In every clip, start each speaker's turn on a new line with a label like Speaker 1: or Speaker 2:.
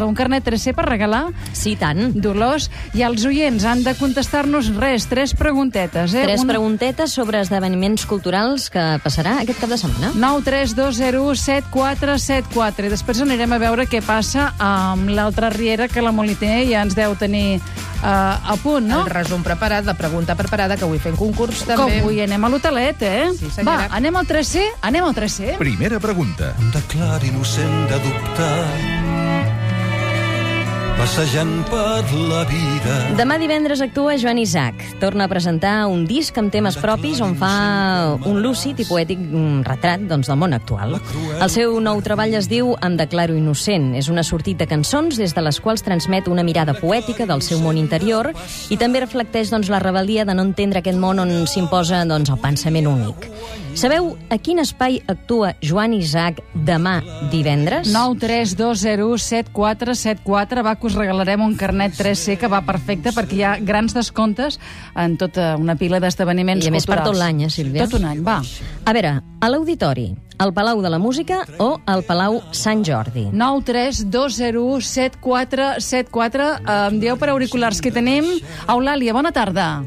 Speaker 1: Un carnet 3C per regalar?
Speaker 2: Sí, tant.
Speaker 1: Dolors, i els oients han de contestar-nos res, tres preguntetes, eh?
Speaker 2: Tres preguntetes sobre esdeveniments culturals que passarà aquest cap de setmana.
Speaker 1: 9 3 2 0 1 7 4 7 4 i després anirem a veure què passa amb l'altra riera que la Moliner ja ens deu tenir eh, a punt, no?
Speaker 3: El resum preparat, la pregunta preparada, que avui fem concurs també.
Speaker 1: Com avui anem a l'hotelet, eh?
Speaker 3: Sí,
Speaker 1: Va,
Speaker 3: senyora.
Speaker 1: anem al 3C? Anem al 3C?
Speaker 4: Primera pregunta.
Speaker 5: Em declaro innocent de dubtar passejant per la vida.
Speaker 2: Demà divendres actua Joan Isaac. Torna a presentar un disc amb temes propis on fa un lúcid i poètic mm, retrat doncs, del món actual. El seu nou treball es diu Em declaro innocent. És una sortit de cançons des de les quals transmet una mirada poètica del seu món interior i també reflecteix doncs, la rebel·lia de no entendre aquest món on s'imposa doncs, el pensament únic. Sabeu a quin espai actua Joan Isaac demà divendres?
Speaker 1: 9 3 2 0 7 4 7 4 va que us regalarem un carnet 3C que va perfecte perquè hi ha grans descomptes en tota una pila d'esdeveniments
Speaker 2: I a
Speaker 1: culturals.
Speaker 2: més per tot l'any, eh, Sílvia?
Speaker 1: Tot un any, va.
Speaker 2: A veure, a l'Auditori, al Palau de la Música o al Palau Sant Jordi?
Speaker 1: 9 3 2 0 1 7 4 7 4 em dieu per auriculars que tenim. Eulàlia, bona tarda.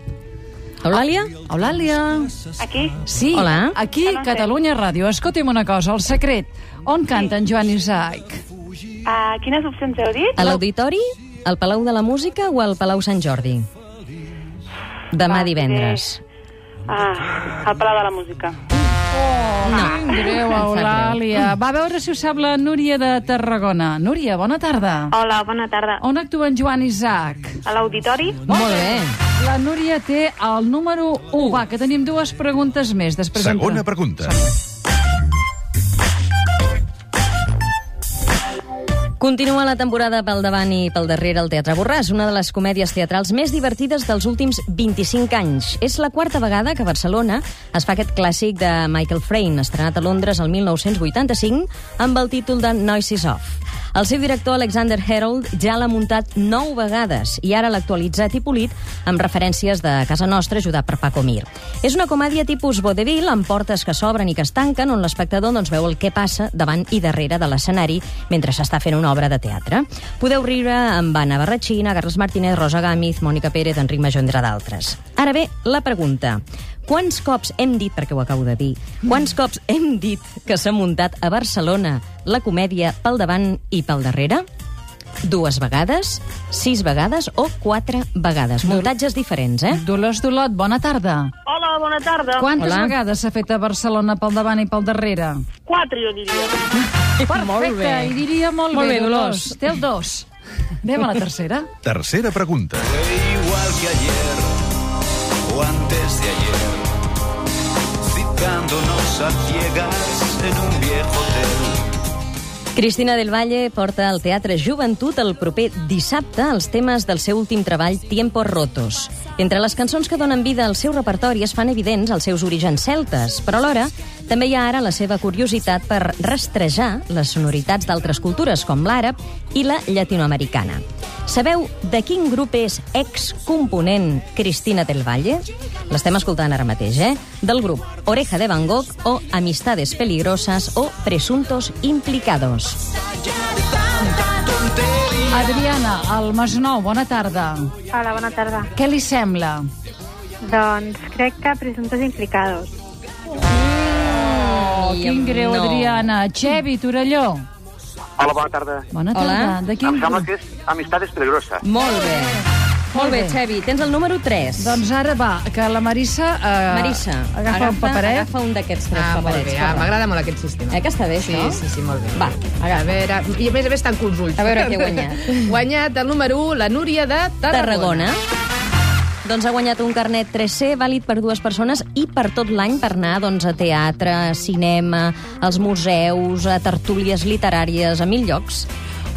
Speaker 2: Eulàlia?
Speaker 1: Eulàlia.
Speaker 6: Aquí?
Speaker 1: Sí,
Speaker 2: Hola.
Speaker 1: aquí,
Speaker 6: Hola,
Speaker 1: Catalunya Ràdio. Escolti'm una cosa, el secret. On canta en Joan Isaac?
Speaker 6: Uh, quines opcions heu dit?
Speaker 2: A l'Auditori, al Palau de la Música o al Palau Sant Jordi? Demà
Speaker 6: Ah,
Speaker 2: divendres.
Speaker 6: Ah, al Palau de la Música.
Speaker 1: No. Greu, Eulàlia. Va a veure si ho sap la Núria de Tarragona. Núria, bona tarda.
Speaker 6: Hola, bona tarda.
Speaker 1: On actua en Joan Isaac?
Speaker 6: A l'auditori?
Speaker 2: Molt bé.
Speaker 1: La Núria té el número 1. Va, que tenim dues preguntes més. Després
Speaker 4: Segona
Speaker 1: entra-
Speaker 4: pregunta.
Speaker 2: Continua la temporada pel davant i pel darrere al Teatre Borràs, una de les comèdies teatrals més divertides dels últims 25 anys. És la quarta vegada que a Barcelona es fa aquest clàssic de Michael Frayn, estrenat a Londres el 1985 amb el títol de Noises Off. El seu director, Alexander Herold, ja l'ha muntat nou vegades i ara l'ha actualitzat i polit amb referències de casa nostra ajudat per Paco Mir. És una comèdia tipus vodevil amb portes que s'obren i que es tanquen on l'espectador doncs, veu el que passa davant i darrere de l'escenari mentre s'està fent una obra de teatre. Podeu riure amb Anna Barratxina, Carles Martínez, Rosa Gàmiz, Mònica Pérez, Enric Major, entre d'altres. Ara bé, la pregunta. Quants cops hem dit, perquè ho acabo de dir, quants cops hem dit que s'ha muntat a Barcelona la comèdia pel davant i pel darrere? Dues vegades, sis vegades o quatre vegades. Muntatges diferents, eh?
Speaker 1: Dolors Dolot, bona tarda.
Speaker 6: Hola, bona tarda.
Speaker 1: Quantes
Speaker 2: Hola.
Speaker 1: vegades s'ha fet a Barcelona pel davant i pel darrere?
Speaker 6: Quatre, jo diria.
Speaker 1: Perfecte, i diria molt,
Speaker 2: Molt
Speaker 1: bé,
Speaker 2: bé, Dolors.
Speaker 1: Té el 2. Anem a la tercera.
Speaker 4: Tercera pregunta.
Speaker 5: Igual que ayer o antes de ayer, citándonos a ciegas en un viejo hotel.
Speaker 2: Cristina del Valle porta al Teatre Joventut el proper dissabte els temes del seu últim treball Tiempos Rotos. Entre les cançons que donen vida al seu repertori es fan evidents els seus orígens celtes, però alhora també hi ha ara la seva curiositat per rastrejar les sonoritats d'altres cultures com l'àrab i la llatinoamericana. Sabeu de quin grup és excomponent Cristina del Valle? L'estem escoltant ara mateix, eh? Del grup Oreja de Van Gogh o Amistades Peligrosas o Presuntos Implicados.
Speaker 1: Adriana, al Masnou, bona tarda.
Speaker 7: Hola, bona tarda.
Speaker 1: Què li sembla?
Speaker 7: Doncs crec que presumptes implicados.
Speaker 1: Oh, quin greu,
Speaker 2: no.
Speaker 1: Adriana. Xevi, Torelló.
Speaker 8: Hola, bona tarda.
Speaker 1: Bona
Speaker 2: Hola.
Speaker 1: tarda. De
Speaker 8: Em
Speaker 1: quin...
Speaker 8: sembla que és Amistades Peligrosa.
Speaker 2: Molt bé. Molt bé, Xevi. Tens el número 3.
Speaker 1: Doncs ara va, que la Marissa... Eh,
Speaker 2: Marissa,
Speaker 1: Agafa, agafa un paperet.
Speaker 2: Agafa un d'aquests tres
Speaker 3: Ah, molt
Speaker 2: paperets.
Speaker 3: bé.
Speaker 2: per
Speaker 3: Ah,
Speaker 2: favor.
Speaker 3: M'agrada molt aquest sistema.
Speaker 2: Eh, que està bé,
Speaker 3: sí,
Speaker 2: això?
Speaker 3: Sí, sí, molt bé.
Speaker 2: Va,
Speaker 3: A veure, i a més a més tan consults.
Speaker 2: A veure què ha guanyat.
Speaker 3: guanyat el número 1, la Núria de Tarragona.
Speaker 2: Tarragona. Doncs ha guanyat un carnet 3C vàlid per dues persones i per tot l'any per anar doncs, a teatre, a cinema, als museus, a tertúlies literàries, a mil llocs.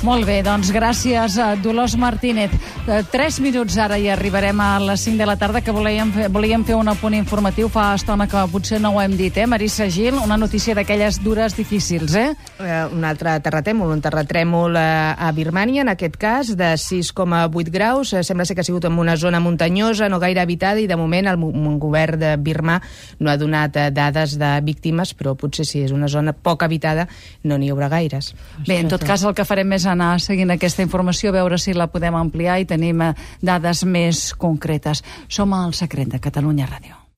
Speaker 1: Molt bé, doncs gràcies a Dolors Martínez. Eh, Tres minuts ara i arribarem a les 5 de la tarda, que volíem fer, volíem fer un apunt informatiu fa estona que potser no ho hem dit, eh? Marissa Gil, una notícia d'aquelles dures difícils, eh?
Speaker 3: Eh, un altre terratrèmol, un terratrèmol eh, a Birmània, en aquest cas, de 6,8 graus. Eh, Sembla ser que ha sigut en una zona muntanyosa, no gaire habitada, i de moment el, mo- el govern de Birma no ha donat eh, dades de víctimes, però potser si és una zona poc habitada no n'hi haurà gaires.
Speaker 1: Bé, en tot cas, el que farem més en- anar seguint aquesta informació, a veure si la podem ampliar i tenim eh, dades més concretes. Som al Secret de Catalunya Ràdio.